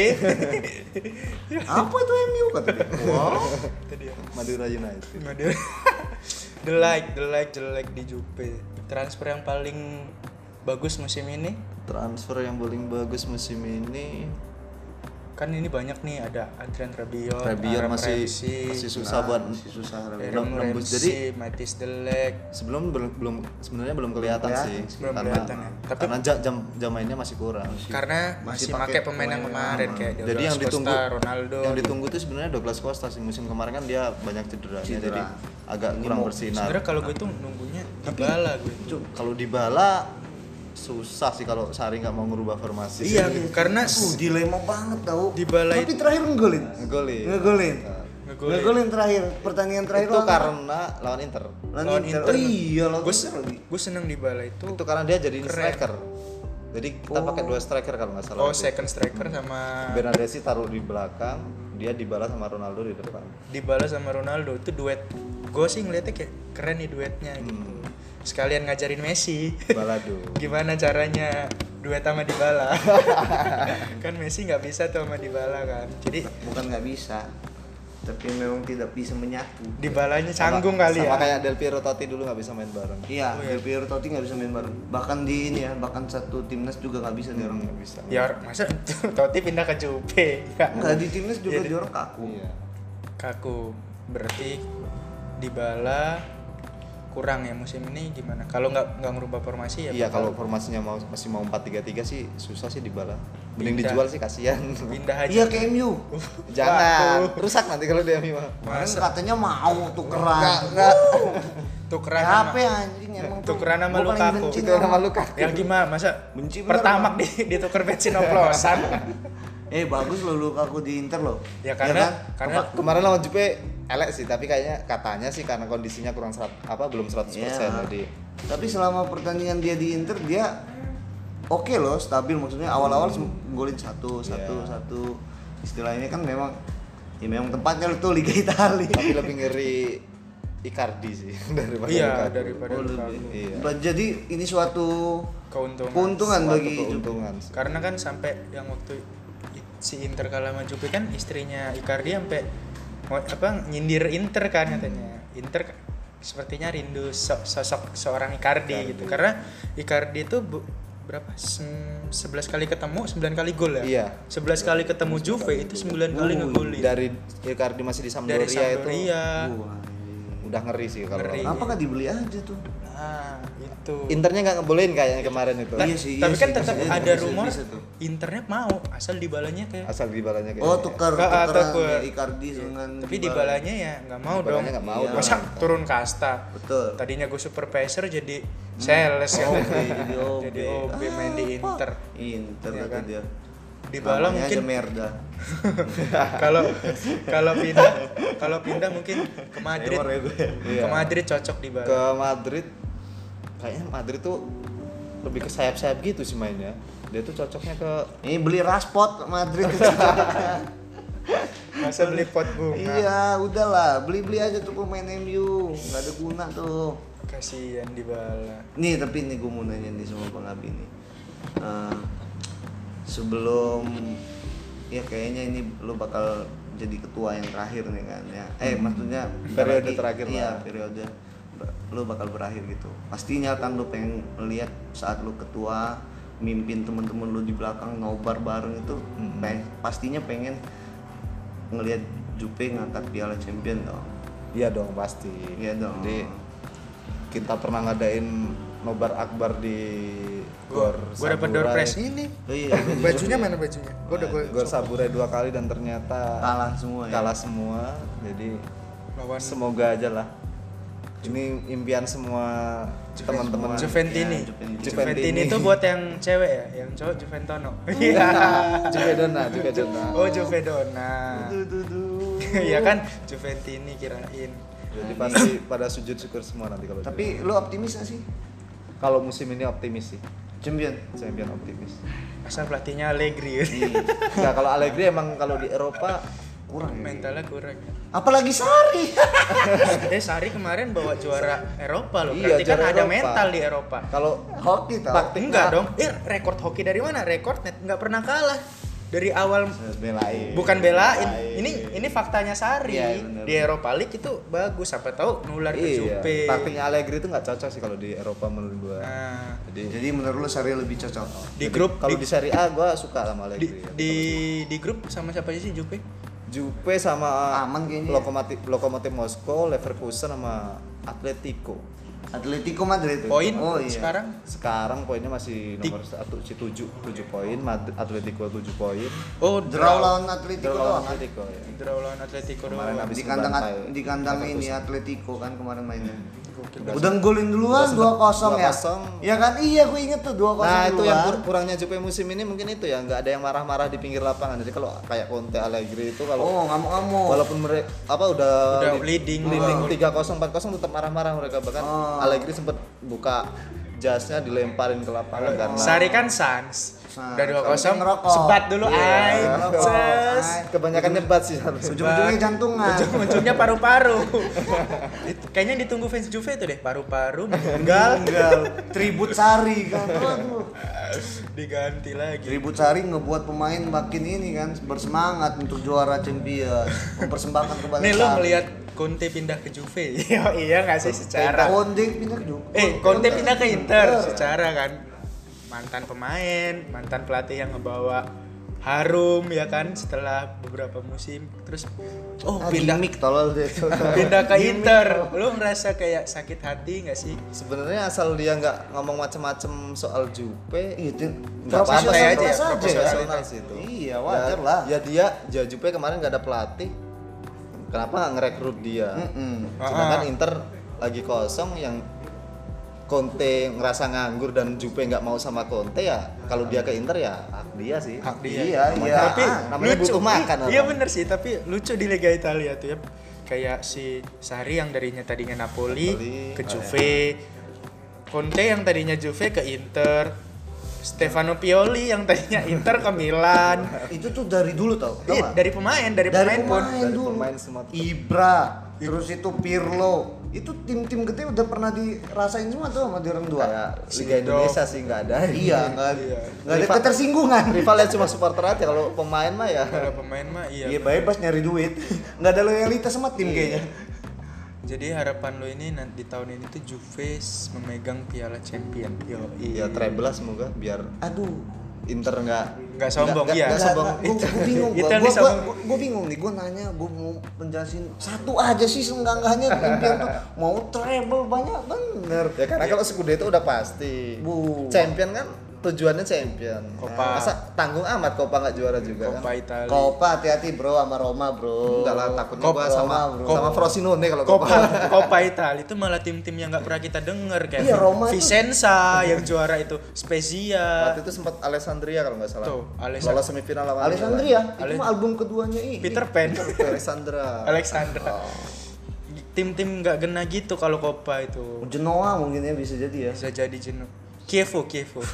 Speaker 2: apa itu MU kata dia wow
Speaker 1: Tadi ya.
Speaker 3: Madura United.
Speaker 1: Nggak ada. the like, the like jelek di Jupe. Transfer yang paling bagus musim ini
Speaker 3: Transfer yang paling bagus musim ini
Speaker 1: kan ini banyak nih ada Adrian Rabiot,
Speaker 3: Rabiot
Speaker 1: Aaron
Speaker 3: masih
Speaker 1: Ramsey,
Speaker 3: Nah, masih susah buat
Speaker 2: masih susah Rabiot.
Speaker 1: Aaron
Speaker 3: belum nembus.
Speaker 1: Ramsey,
Speaker 3: Jadi
Speaker 1: Matis Delek.
Speaker 3: sebelum belum, belum sebenarnya belum kelihatan
Speaker 2: kelihatan
Speaker 3: sih
Speaker 1: sih, belum kelihatan ya. Tapi-
Speaker 3: karena ja- jam jam mainnya masih kurang.
Speaker 1: Karena masih,
Speaker 2: Masih
Speaker 1: pakai
Speaker 2: pakai
Speaker 1: pemain yang
Speaker 2: pemain
Speaker 1: kemarin
Speaker 2: lama.
Speaker 1: kayak
Speaker 3: jadi yang
Speaker 1: Eh, Douglas Costa,
Speaker 3: ditunggu
Speaker 1: Ronaldo.
Speaker 3: yang ditunggu tuh sebenarnya Douglas Costa sih musim kemarin kan dia banyak cederanya
Speaker 2: Cedera.
Speaker 3: jadi agak
Speaker 2: Ini
Speaker 3: kurang
Speaker 2: mau-
Speaker 3: bersinar.
Speaker 1: Sebenarnya kalau gue tuh nunggunya Dybala gue.
Speaker 3: Cuk, kalau Dybala susah sih kalau Sari nggak mau ngerubah formasi.
Speaker 1: Iya, karena
Speaker 2: uh dilema banget tau
Speaker 1: Dybala
Speaker 2: tapi terakhir ngegolin Nah.
Speaker 3: Ngegolin.
Speaker 2: ngegolin
Speaker 1: Ngegolin.
Speaker 2: ngegolin terakhir pertandingan terakhir
Speaker 3: itu
Speaker 2: lawan-
Speaker 3: karena lawan Inter.
Speaker 1: lawan Inter.
Speaker 2: Oh, iya lawan
Speaker 1: gue
Speaker 2: Inter lagi.
Speaker 1: seneng, gue seneng Dybala itu.
Speaker 3: Itu karena dia jadi
Speaker 1: Keren.
Speaker 3: striker. Jadi kita pakai dua striker kalau nggak salah.
Speaker 1: Oh
Speaker 3: Hmm. waktu itu.
Speaker 1: second striker sama
Speaker 3: Bernadesi taruh di belakang, dia Dybala sama Ronaldo di depan.
Speaker 1: Dybala sama Ronaldo itu duet gue sih ngeliatnya kayak keren nih duetnya gitu
Speaker 3: Hmm.
Speaker 1: sekalian ngajarin Messi
Speaker 3: Balado.
Speaker 1: gimana caranya duet sama Dybala kan Messi nggak bisa tuh sama Dybala kan jadi
Speaker 2: bukan nggak bisa tapi memang tidak bisa menyatu
Speaker 1: Dybalanya canggung
Speaker 3: Sama-
Speaker 1: kali
Speaker 3: sama
Speaker 1: ya
Speaker 3: kayak Del Piero Totti dulu nggak bisa main bareng.
Speaker 2: iya
Speaker 1: Oh, iya.
Speaker 2: Del Piero Totti nggak bisa main bareng bahkan di ini ya bahkan satu timnas juga nggak bisa dia orang Iya.
Speaker 3: Nggak bisa.
Speaker 1: ya masa Totti pindah ke Juve Nggak.
Speaker 2: nggak di timnas juga
Speaker 1: Jadi-
Speaker 2: dia orang kaku
Speaker 3: Iya.
Speaker 1: kaku berarti Dybala kurang ya musim ini gimana kalau nggak nggak ngerubah formasi ya
Speaker 3: Iya
Speaker 1: bakal
Speaker 3: kalau formasinya mau masih mau 4-3-3 sih susah sih Dybala.
Speaker 1: Pindah.
Speaker 3: Mending dijual sih kasihan.
Speaker 1: pindah aja
Speaker 2: iya ke MU
Speaker 3: Jangan,
Speaker 1: Waduh.
Speaker 3: rusak nanti kalau dia Mima.
Speaker 2: kemarin katanya mau tukeran
Speaker 1: tukeran sama-
Speaker 2: Kenapa anjing emang tuh.
Speaker 1: tukeran sama
Speaker 2: Gua paling
Speaker 1: Lukaku
Speaker 2: benci
Speaker 1: Itu
Speaker 2: tuh
Speaker 3: Tukeran sama Lukaku.
Speaker 1: ya gimana masa
Speaker 2: Benci bener,
Speaker 1: pertama
Speaker 2: Bang.
Speaker 1: di ditukar bensin oplosan
Speaker 2: eh bagus loh Lukaku di Inter loh Iya kan?
Speaker 1: ya karena karena
Speaker 3: Kema- kemarin lawan Juve elek sih, tapi kayaknya katanya sih karena kondisinya kurang serat, apa belum 100%
Speaker 2: Iya.
Speaker 3: tadi.
Speaker 2: Tapi selama pertandingan dia di Inter dia oke loh, stabil maksudnya awal-awal sem- golin satu, satu,
Speaker 3: Iya.
Speaker 2: satu. Istilahnya kan memang ya memang tempatnya itu Liga Italia.
Speaker 3: Tapi lebih ngeri Icardi sih daripada
Speaker 1: iya
Speaker 3: Lukaku.
Speaker 1: daripada
Speaker 2: Oh,
Speaker 1: Lukaku.
Speaker 2: lebih.
Speaker 3: Iya.
Speaker 2: Bah- Jadi ini suatu
Speaker 1: keuntungan
Speaker 2: keuntungan
Speaker 3: Suatu
Speaker 2: bagi
Speaker 3: keuntungan.
Speaker 1: karena kan sampai yang waktu i- si Inter kalah sama Juve kan istrinya Icardi sampai ngo- apa nyindir Inter kan katanya Inter k- sepertinya rindu so- sosok seorang Icardi,
Speaker 3: Icardi.
Speaker 1: gitu karena Icardi itu bu- berapa Sem- 11 kali ketemu 9 kali gol ya
Speaker 3: Iya.
Speaker 1: 11 kali ketemu Juve itu 9 kali
Speaker 2: Wuih,
Speaker 1: ngegolin
Speaker 3: Dari Icardi masih di
Speaker 1: dari
Speaker 3: Sampdoria,
Speaker 1: Sampdoria
Speaker 3: itu
Speaker 2: Uh.
Speaker 3: udah ngeri sih kalau
Speaker 1: Ngeri.
Speaker 2: Kenapa nggak dibeli aja tuh?
Speaker 1: Nah, itu.
Speaker 3: Internya nggak ngebolehin kayaknya kemarin itu.
Speaker 1: Ta-
Speaker 2: Iya sih, iya
Speaker 1: tapi kan
Speaker 2: sih,
Speaker 1: tetap
Speaker 2: bisa,
Speaker 1: ada
Speaker 2: bisa,
Speaker 1: rumor
Speaker 2: bisa tuh.
Speaker 1: internet mau asal dibalanya kayak
Speaker 3: Asal dibalanya kayak gitu.
Speaker 2: Oh tukar
Speaker 1: Nggak, ah,
Speaker 2: tukeran
Speaker 1: takut.
Speaker 2: ya, Icardi dengan
Speaker 1: tapi
Speaker 2: Dybala.
Speaker 1: dibalanya ya nggak mau
Speaker 3: Dybalanya
Speaker 1: dong Iya.
Speaker 3: nggak mau
Speaker 2: dong.
Speaker 1: masa turun kasta
Speaker 2: Betul.
Speaker 1: tadinya gue supervisor jadi sales ya
Speaker 2: OB, jadi OB.
Speaker 1: jadi OB main di
Speaker 2: Ah,
Speaker 1: Inter
Speaker 2: Inter
Speaker 1: Iya
Speaker 2: kata
Speaker 1: kan?
Speaker 2: dia.
Speaker 1: Dybala
Speaker 2: Namanya
Speaker 1: mungkin-
Speaker 2: aja Merda.
Speaker 1: kalau kalau pindah kalau pindah mungkin ke Madrid
Speaker 2: Emor ya gue.
Speaker 1: ke Madrid cocok dibala
Speaker 3: ke Madrid kayaknya Madrid tuh lebih ke sayap-sayap gitu sih mainnya dia tuh cocoknya ke
Speaker 2: Ini beli raspot Madrid.
Speaker 1: masa beli pot bunga
Speaker 2: iya, udahlah, beli-beli aja tuh pemain MU, nggak ada guna tuh.
Speaker 1: kasihan dibala
Speaker 2: Nih, tapi nih gue mau nanya nih sama Bang Abi nih. Eh, sebelum ya kayaknya ini lo bakal jadi ketua yang terakhir nih kan ya. Eh, maksudnya bentar
Speaker 3: Periode terakhir
Speaker 2: Iya,
Speaker 3: lah.
Speaker 2: periode ba- lo bakal berakhir gitu. Pastinya kan lo pengen lihat saat lo ketua mimpin temen-temen lo di belakang nobar bareng itu
Speaker 3: Mm-mm.
Speaker 2: pe- pastinya pengen ngelihat Jupe ngangkat Piala Champion dong.
Speaker 3: iya dong pasti
Speaker 2: Iya dong.
Speaker 3: jadi kita pernah ngadain nobar akbar di
Speaker 1: gue gue dapat door
Speaker 3: Saburai. Eh,
Speaker 1: prize ini
Speaker 2: Oh iya,
Speaker 1: bajunya mana bajunya gue udah gue
Speaker 3: gor saburai dua kali dan ternyata
Speaker 2: kalah semua ya.
Speaker 3: kalah semua jadi
Speaker 1: lawan
Speaker 3: semoga aja lah ini impian semua teman-teman
Speaker 1: Juventini.
Speaker 2: Ya, Juventini. Iya.
Speaker 1: Juventini
Speaker 3: Juventini.
Speaker 1: itu buat yang cewek ya, yang cowok Juventono.
Speaker 3: Iya. Juvedona Juvedona
Speaker 1: oh, Juvedona. ya kan Juventini kirain.
Speaker 3: jadi pasti pada sujud syukur semua nanti kalau
Speaker 2: Tapi lo optimis gak sih?
Speaker 3: kalau musim ini optimis sih
Speaker 2: Champion.
Speaker 3: champion optimis
Speaker 2: Iya,
Speaker 1: Asal pelatihnya Allegri.
Speaker 3: nah kalau Allegri emang kalau di Eropa
Speaker 2: kurang ya.
Speaker 1: mentalnya kurang ya.
Speaker 2: Apalagi Sari.
Speaker 1: eh Sari kemarin bawa juara Eropa loh
Speaker 2: Iya,
Speaker 1: berarti kan
Speaker 2: juara
Speaker 1: ada
Speaker 2: Eropa.
Speaker 1: mental di Eropa
Speaker 2: Kalau hoki tahu. Nah.
Speaker 3: Pak-
Speaker 1: enggak dong eh rekor hoki dari mana rekor net nggak pernah kalah dari awal
Speaker 3: belain
Speaker 1: bukan belain ini ini faktanya Sari
Speaker 2: Iya, bener.
Speaker 1: di Eropa League itu bagus sampai tahu nular ke
Speaker 3: iya
Speaker 1: Jupe
Speaker 3: taktiknya Allegri itu nggak cocok sih kalau di Eropa menurut gua
Speaker 1: nah,
Speaker 3: jadi
Speaker 2: Jadi menurut lu Sari lebih cocok.
Speaker 1: di
Speaker 3: jadi
Speaker 1: grup
Speaker 3: kalau
Speaker 1: di,
Speaker 3: di Serie A gua suka sama
Speaker 1: di,
Speaker 3: Allegri ya.
Speaker 1: di, di grup sama siapa aja sih Jupe
Speaker 3: Jupe sama
Speaker 2: Aman kayaknya ya.
Speaker 3: lokomotif lokomotif Moskow Leverkusen sama Atletico
Speaker 2: Atletico Madrid.
Speaker 1: poin
Speaker 2: Oh iya.
Speaker 1: sekarang
Speaker 3: sekarang poinnya masih nomor satu si tujuh tujuh poin Madrid- Atletico tujuh poin
Speaker 1: oh
Speaker 2: Draw lawan Atletico
Speaker 3: Terus lawan
Speaker 2: doang. kan?
Speaker 3: Atletico ya
Speaker 1: draw lawan Atletico
Speaker 3: Kemarin
Speaker 1: doang
Speaker 3: habis
Speaker 2: Di kandang
Speaker 3: membantai
Speaker 2: di kandang ini
Speaker 3: Leverkusen.
Speaker 2: Atletico kan kemarin mainnya.
Speaker 1: Gokil.
Speaker 3: Udah
Speaker 2: Udah nggolin duluan 2-0
Speaker 3: sempet
Speaker 2: ya.
Speaker 3: 2-0.
Speaker 2: Ya kan? Iya, gue inget tuh 2-0
Speaker 3: Nah itu yang
Speaker 2: duluan.
Speaker 3: kur- kurangnya Jupe musim ini mungkin itu ya nggak ada yang marah-marah di pinggir lapangan. Jadi kalau kayak Conte Allegri itu kalau
Speaker 2: Oh, ngamuk-ngamuk.
Speaker 3: walaupun mereka apa udah
Speaker 1: Udah
Speaker 3: li-
Speaker 1: leading,
Speaker 3: leading
Speaker 1: leading.
Speaker 3: tiga kosong empat kosong tetap marah-marah mereka bahkan
Speaker 2: Oh.
Speaker 3: Allegri sempet buka jasnya dilemparin ke lapangan karena
Speaker 1: Sari kan Sans
Speaker 2: Sans.
Speaker 1: udah dua kosong
Speaker 2: Ngerokok. Iya,
Speaker 1: sebat dulu ay
Speaker 2: ngerokok.
Speaker 1: Ces.
Speaker 2: Ay.
Speaker 3: kebanyakan nyebat sih harusnya.
Speaker 2: Ujung-ujungnya jantungan.
Speaker 1: ujung-ujungnya paru-paru Itu- kayaknya ditunggu fans Juve itu deh paru-paru meninggal
Speaker 2: Tinggal tribut Sari kan. Aduh.
Speaker 1: diganti lagi
Speaker 2: Tribut Sari ngebuat pemain makin ini kan bersemangat untuk juara Champions, mempersembahkan kepada
Speaker 1: nih lo
Speaker 2: Sarri.
Speaker 1: melihat Conte pindah ke Juve Iya, iya nggak sih secara
Speaker 2: Konde pindah ke Juve.
Speaker 1: eh Conte pindah ke Inter secara kan mantan pemain mantan pelatih yang ngebawa harum ya kan setelah beberapa musim terus oh
Speaker 2: Ah,
Speaker 1: pindah
Speaker 2: gimmick tolol deh.
Speaker 1: pindah ke Inter lo ngerasa kayak sakit hati nggak sih
Speaker 3: Sebenarnya asal dia nggak ngomong macem-macem soal Jupe,
Speaker 2: Itu
Speaker 3: nggak apa-apa
Speaker 1: Santai
Speaker 3: sih,
Speaker 1: aja ya,
Speaker 3: terus
Speaker 1: profesional.
Speaker 3: sih itu.
Speaker 2: Iya, wajar
Speaker 3: Ya-
Speaker 2: lah.
Speaker 3: Ya dia, ya Jupe kemarin nggak ada pelatih. Kenapa nggak ngerekrut dia?
Speaker 2: Mm-mm.
Speaker 3: Sedangkan
Speaker 1: Ah.
Speaker 3: Inter lagi kosong yang Conte ngerasa nganggur dan Jupe nggak mau sama Conte ya. Kalau dia ke Inter ya hak dia sih.
Speaker 2: Hak dia. Iya,
Speaker 3: Namanya-
Speaker 2: iya.
Speaker 1: tapi
Speaker 3: ah, namanya
Speaker 1: lucu
Speaker 3: butuh makan.
Speaker 1: Iya, iya bener sih tapi lucu di Liga Italia tuh ya kayak si Sari yang darinya tadinya Napoli,
Speaker 3: Napoli,
Speaker 1: ke
Speaker 3: oh
Speaker 1: Juve Conte yang tadinya Juve ke Inter Stefano Pioli yang tadinya Inter ke Milan
Speaker 2: Itu tuh dari dulu tau. tau
Speaker 1: Iya,
Speaker 2: nggak?
Speaker 1: dari pemain dari,
Speaker 2: Iya, Dari
Speaker 1: pemain, pun
Speaker 2: pemain
Speaker 3: Dari
Speaker 2: dulu.
Speaker 3: pemain semua.
Speaker 2: Ibra, terus itu Pirlo. Itu tim-tim gede udah pernah dirasain semua tuh sama Durham 2.
Speaker 3: Kayak Liga Indonesia sih nggak ada.
Speaker 2: Iya, nggak
Speaker 1: Iya.
Speaker 2: nggak ada
Speaker 3: Rival-
Speaker 2: ketersinggungan.
Speaker 3: Rivalnya cuma supporter aja kalau pemain mah ya.
Speaker 1: kalau pemain mah iya
Speaker 2: Iya bebas nyari duit, nggak ada loyalitas sama tim kayaknya.
Speaker 1: jadi harapan lo ini nanti di tahun ini tuh Juve memegang Piala Champion yo
Speaker 3: Iya, treble lah semoga biar
Speaker 2: Aduh,
Speaker 3: Inter nggak
Speaker 1: Nggak sombong,
Speaker 3: nggak-
Speaker 1: iya.
Speaker 3: nggak sombong.
Speaker 2: Gue bingung,
Speaker 1: Itu
Speaker 2: gue
Speaker 1: yang
Speaker 2: gua,
Speaker 1: disombong.
Speaker 2: gua, gua bingung nih, gue nanya, gue mau penjelasin satu aja sih sengganggahnya impian tuh mau treble banyak bener.
Speaker 3: Ya karena kalau Scudetto udah pasti.
Speaker 2: Bu.
Speaker 3: Champion kan tujuannya champion. Nah,
Speaker 1: Copa.
Speaker 3: Masa tanggung amat Copa nggak juara juga
Speaker 1: Coppa
Speaker 3: kan?
Speaker 1: Italia
Speaker 2: Kopa hati-hati bro sama Roma bro.
Speaker 3: Enggak lah takutnya
Speaker 1: Copa,
Speaker 3: gua sama
Speaker 2: bro.
Speaker 3: sama Frosinone kalau
Speaker 1: Copa
Speaker 3: Copa.
Speaker 1: Copa Italia itu malah tim-tim yang nggak pernah kita dengar kayak
Speaker 2: Iya, Roma itu-
Speaker 1: Vicenza yang juara itu Spezia
Speaker 3: Waktu itu sempat Alessandria kalau nggak salah.
Speaker 1: Tuh, Alessa-
Speaker 3: Lolos semifinal lawan
Speaker 2: Alessandria, itu
Speaker 1: Ale-
Speaker 2: mah album keduanya ini.
Speaker 1: Peter Pan
Speaker 3: Milan. Alessandra.
Speaker 1: Alexandra tim-tim nggak kena gitu kalau Copa itu
Speaker 2: Genoa mungkin ya bisa jadi ya.
Speaker 1: bisa jadi jenuh Kievo Kievo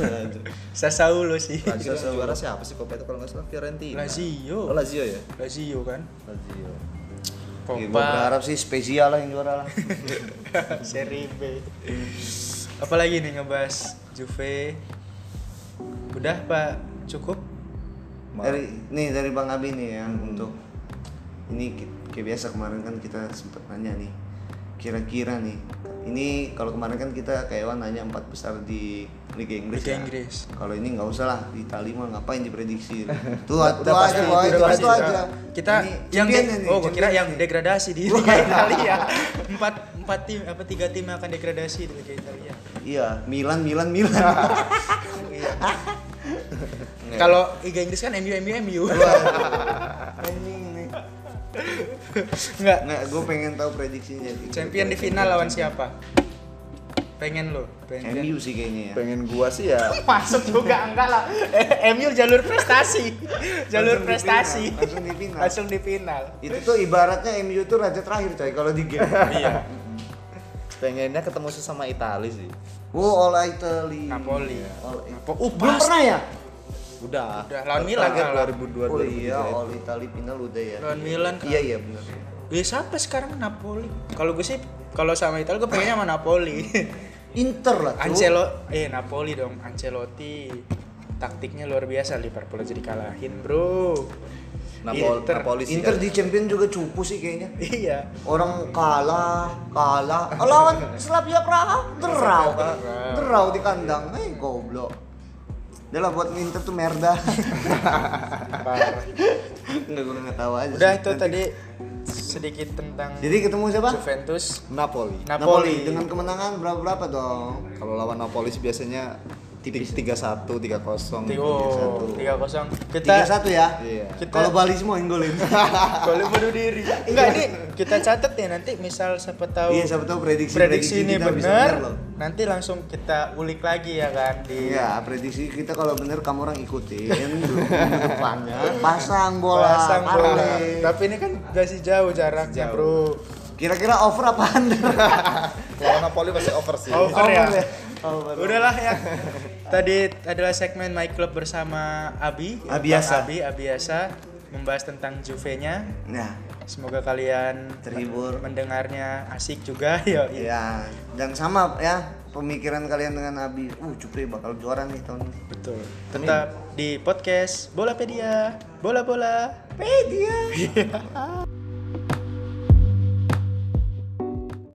Speaker 1: Sasaulo sih
Speaker 3: Lazio yang juara siapa sih Copa itu kalau nggak salah Fiorentina. Oh,
Speaker 1: Lazio
Speaker 3: Lazio ya.
Speaker 1: Lazio kan
Speaker 3: Lazio.
Speaker 2: Gue berharap
Speaker 1: Copa
Speaker 2: sih spesial lah yang juara lah.
Speaker 1: Serie B apalagi nih ngebahas Juve udah pak cukup
Speaker 3: Ma-
Speaker 2: dari nih dari Bang Abi nih ya
Speaker 1: Hmm.
Speaker 2: untuk ini ki- kayak biasa kemarin kan kita sempet nanya nih kira-kira nih ini kalau kemarin kan kita kayak Wan nanya empat besar di Liga Inggris
Speaker 1: Liga
Speaker 2: ya.
Speaker 1: Inggris.
Speaker 2: kalau ini nggak usah lah di Itali mah ngapain diprediksi tuh
Speaker 3: Udah-
Speaker 2: tuh
Speaker 3: udah
Speaker 2: aja
Speaker 3: pasti,
Speaker 2: Boy,
Speaker 3: udah
Speaker 2: itu
Speaker 3: pasti.
Speaker 2: itu aja
Speaker 1: kita
Speaker 2: Ini
Speaker 1: yang
Speaker 2: champion
Speaker 1: de-
Speaker 2: ini,
Speaker 1: oh gua kira
Speaker 2: champion
Speaker 1: yang
Speaker 2: ini.
Speaker 1: degradasi di Liga Italia empat empat tim apa tiga tim yang akan degradasi di Liga Italia
Speaker 2: iya Milan Milan Milan
Speaker 1: kalau Liga Inggris kan MU MU MU
Speaker 2: anjing nih
Speaker 1: nggak
Speaker 2: nggak gue pengen tahu prediksinya sih.
Speaker 1: champion di final lawan siapa pengen lo pengen
Speaker 2: MU sih kayaknya ya
Speaker 3: Pengen gua sih ya
Speaker 1: masuk juga enggak lah Eh, MU jalur prestasi jalur
Speaker 2: Langsung di
Speaker 1: prestasi
Speaker 2: final, langsung di final.
Speaker 1: langsung di final
Speaker 2: itu tuh ibaratnya MU tuh raja terakhir coy kalau di game
Speaker 1: iya
Speaker 3: pengennya ketemu sesama Italia sih.
Speaker 2: Oh, All Italy.
Speaker 1: Napoli
Speaker 2: All
Speaker 1: Napo- uh,
Speaker 2: Belum
Speaker 1: pasti.
Speaker 2: pernah ya?
Speaker 3: Udah.
Speaker 1: Udah, lawan Milan
Speaker 3: Target
Speaker 1: kalah.
Speaker 3: 2002
Speaker 2: Oh iya,
Speaker 3: 2003.
Speaker 2: All Italy final udah ya.
Speaker 1: Lawan Milan kan. kalah.
Speaker 2: Iya iya benar.
Speaker 1: Gue sampai Ya, sekarang Napoli. Kalau gue sih kalau sama Italia gue pengennya sama Napoli.
Speaker 2: Inter lah tuh.
Speaker 1: Ancelo eh Napoli dong, Ancelotti. Taktiknya luar biasa Liverpool jadi kalahin, Bro.
Speaker 3: Napol-
Speaker 1: Inter.
Speaker 3: Napoli sih
Speaker 2: Inter
Speaker 3: kan.
Speaker 2: di champion juga cupu sih kayaknya.
Speaker 1: Iya.
Speaker 2: Orang kalah, kalah. Oh, Lawan Slavia Praha, derau kan. Derau di kandang. Eh, goblok. Udah lah buat Inter tuh merda. Enggak gue nggak tahu aja.
Speaker 1: Udah
Speaker 2: sih.
Speaker 1: itu
Speaker 2: Nanti.
Speaker 1: tadi sedikit tentang
Speaker 2: Jadi ketemu siapa?
Speaker 1: Juventus.
Speaker 3: Napoli.
Speaker 1: Napoli.
Speaker 2: dengan kemenangan berapa-berapa dong?
Speaker 3: Kalau lawan Napoli sih biasanya tipis 3-1, 3-0. gitu
Speaker 1: Tigo, 3-0.
Speaker 3: biasanya.
Speaker 2: Tiga
Speaker 1: Kita
Speaker 2: satu ya.
Speaker 3: Iya.
Speaker 1: Kita-
Speaker 2: Kalau Bali semua yang golin.
Speaker 1: kalau bunuh diri. Enggak, ini kita catat ya nanti misal siapa tahu
Speaker 2: Iya, siapa tahu prediksi
Speaker 1: prediksi ini
Speaker 2: kita bisa
Speaker 1: benar,
Speaker 2: loh.
Speaker 1: nanti langsung kita ulik lagi ya kan di
Speaker 2: Iya, prediksi kita kalau bener kamu orang ikutin dukung depannya, pasang bola, Iya.
Speaker 1: pasang bola.
Speaker 2: parlay.
Speaker 1: Tapi ini kan masih jauh jaraknya, Bro.
Speaker 2: Kira-kira over apa under?
Speaker 3: Kalau Napoli pasti over
Speaker 2: Iya.
Speaker 3: sih.
Speaker 2: Oh,
Speaker 1: Over, ya.
Speaker 2: Over.
Speaker 1: Udahlah ya. Tadi adalah segmen My Club bersama Abi.
Speaker 2: Abiasa.
Speaker 1: Bang Abi Abiasa membahas tentang Juve-nya.
Speaker 2: Nah,
Speaker 1: Semoga kalian
Speaker 2: Terhibur.
Speaker 1: mendengarnya asik juga. Yo, iya.
Speaker 2: ya dan sama ya pemikiran kalian dengan Abi. Uh, Cupri bakal juara nih tahun ini.
Speaker 1: Betul. Tetap di podcast Bolapedia. Bola-bola.
Speaker 2: Media.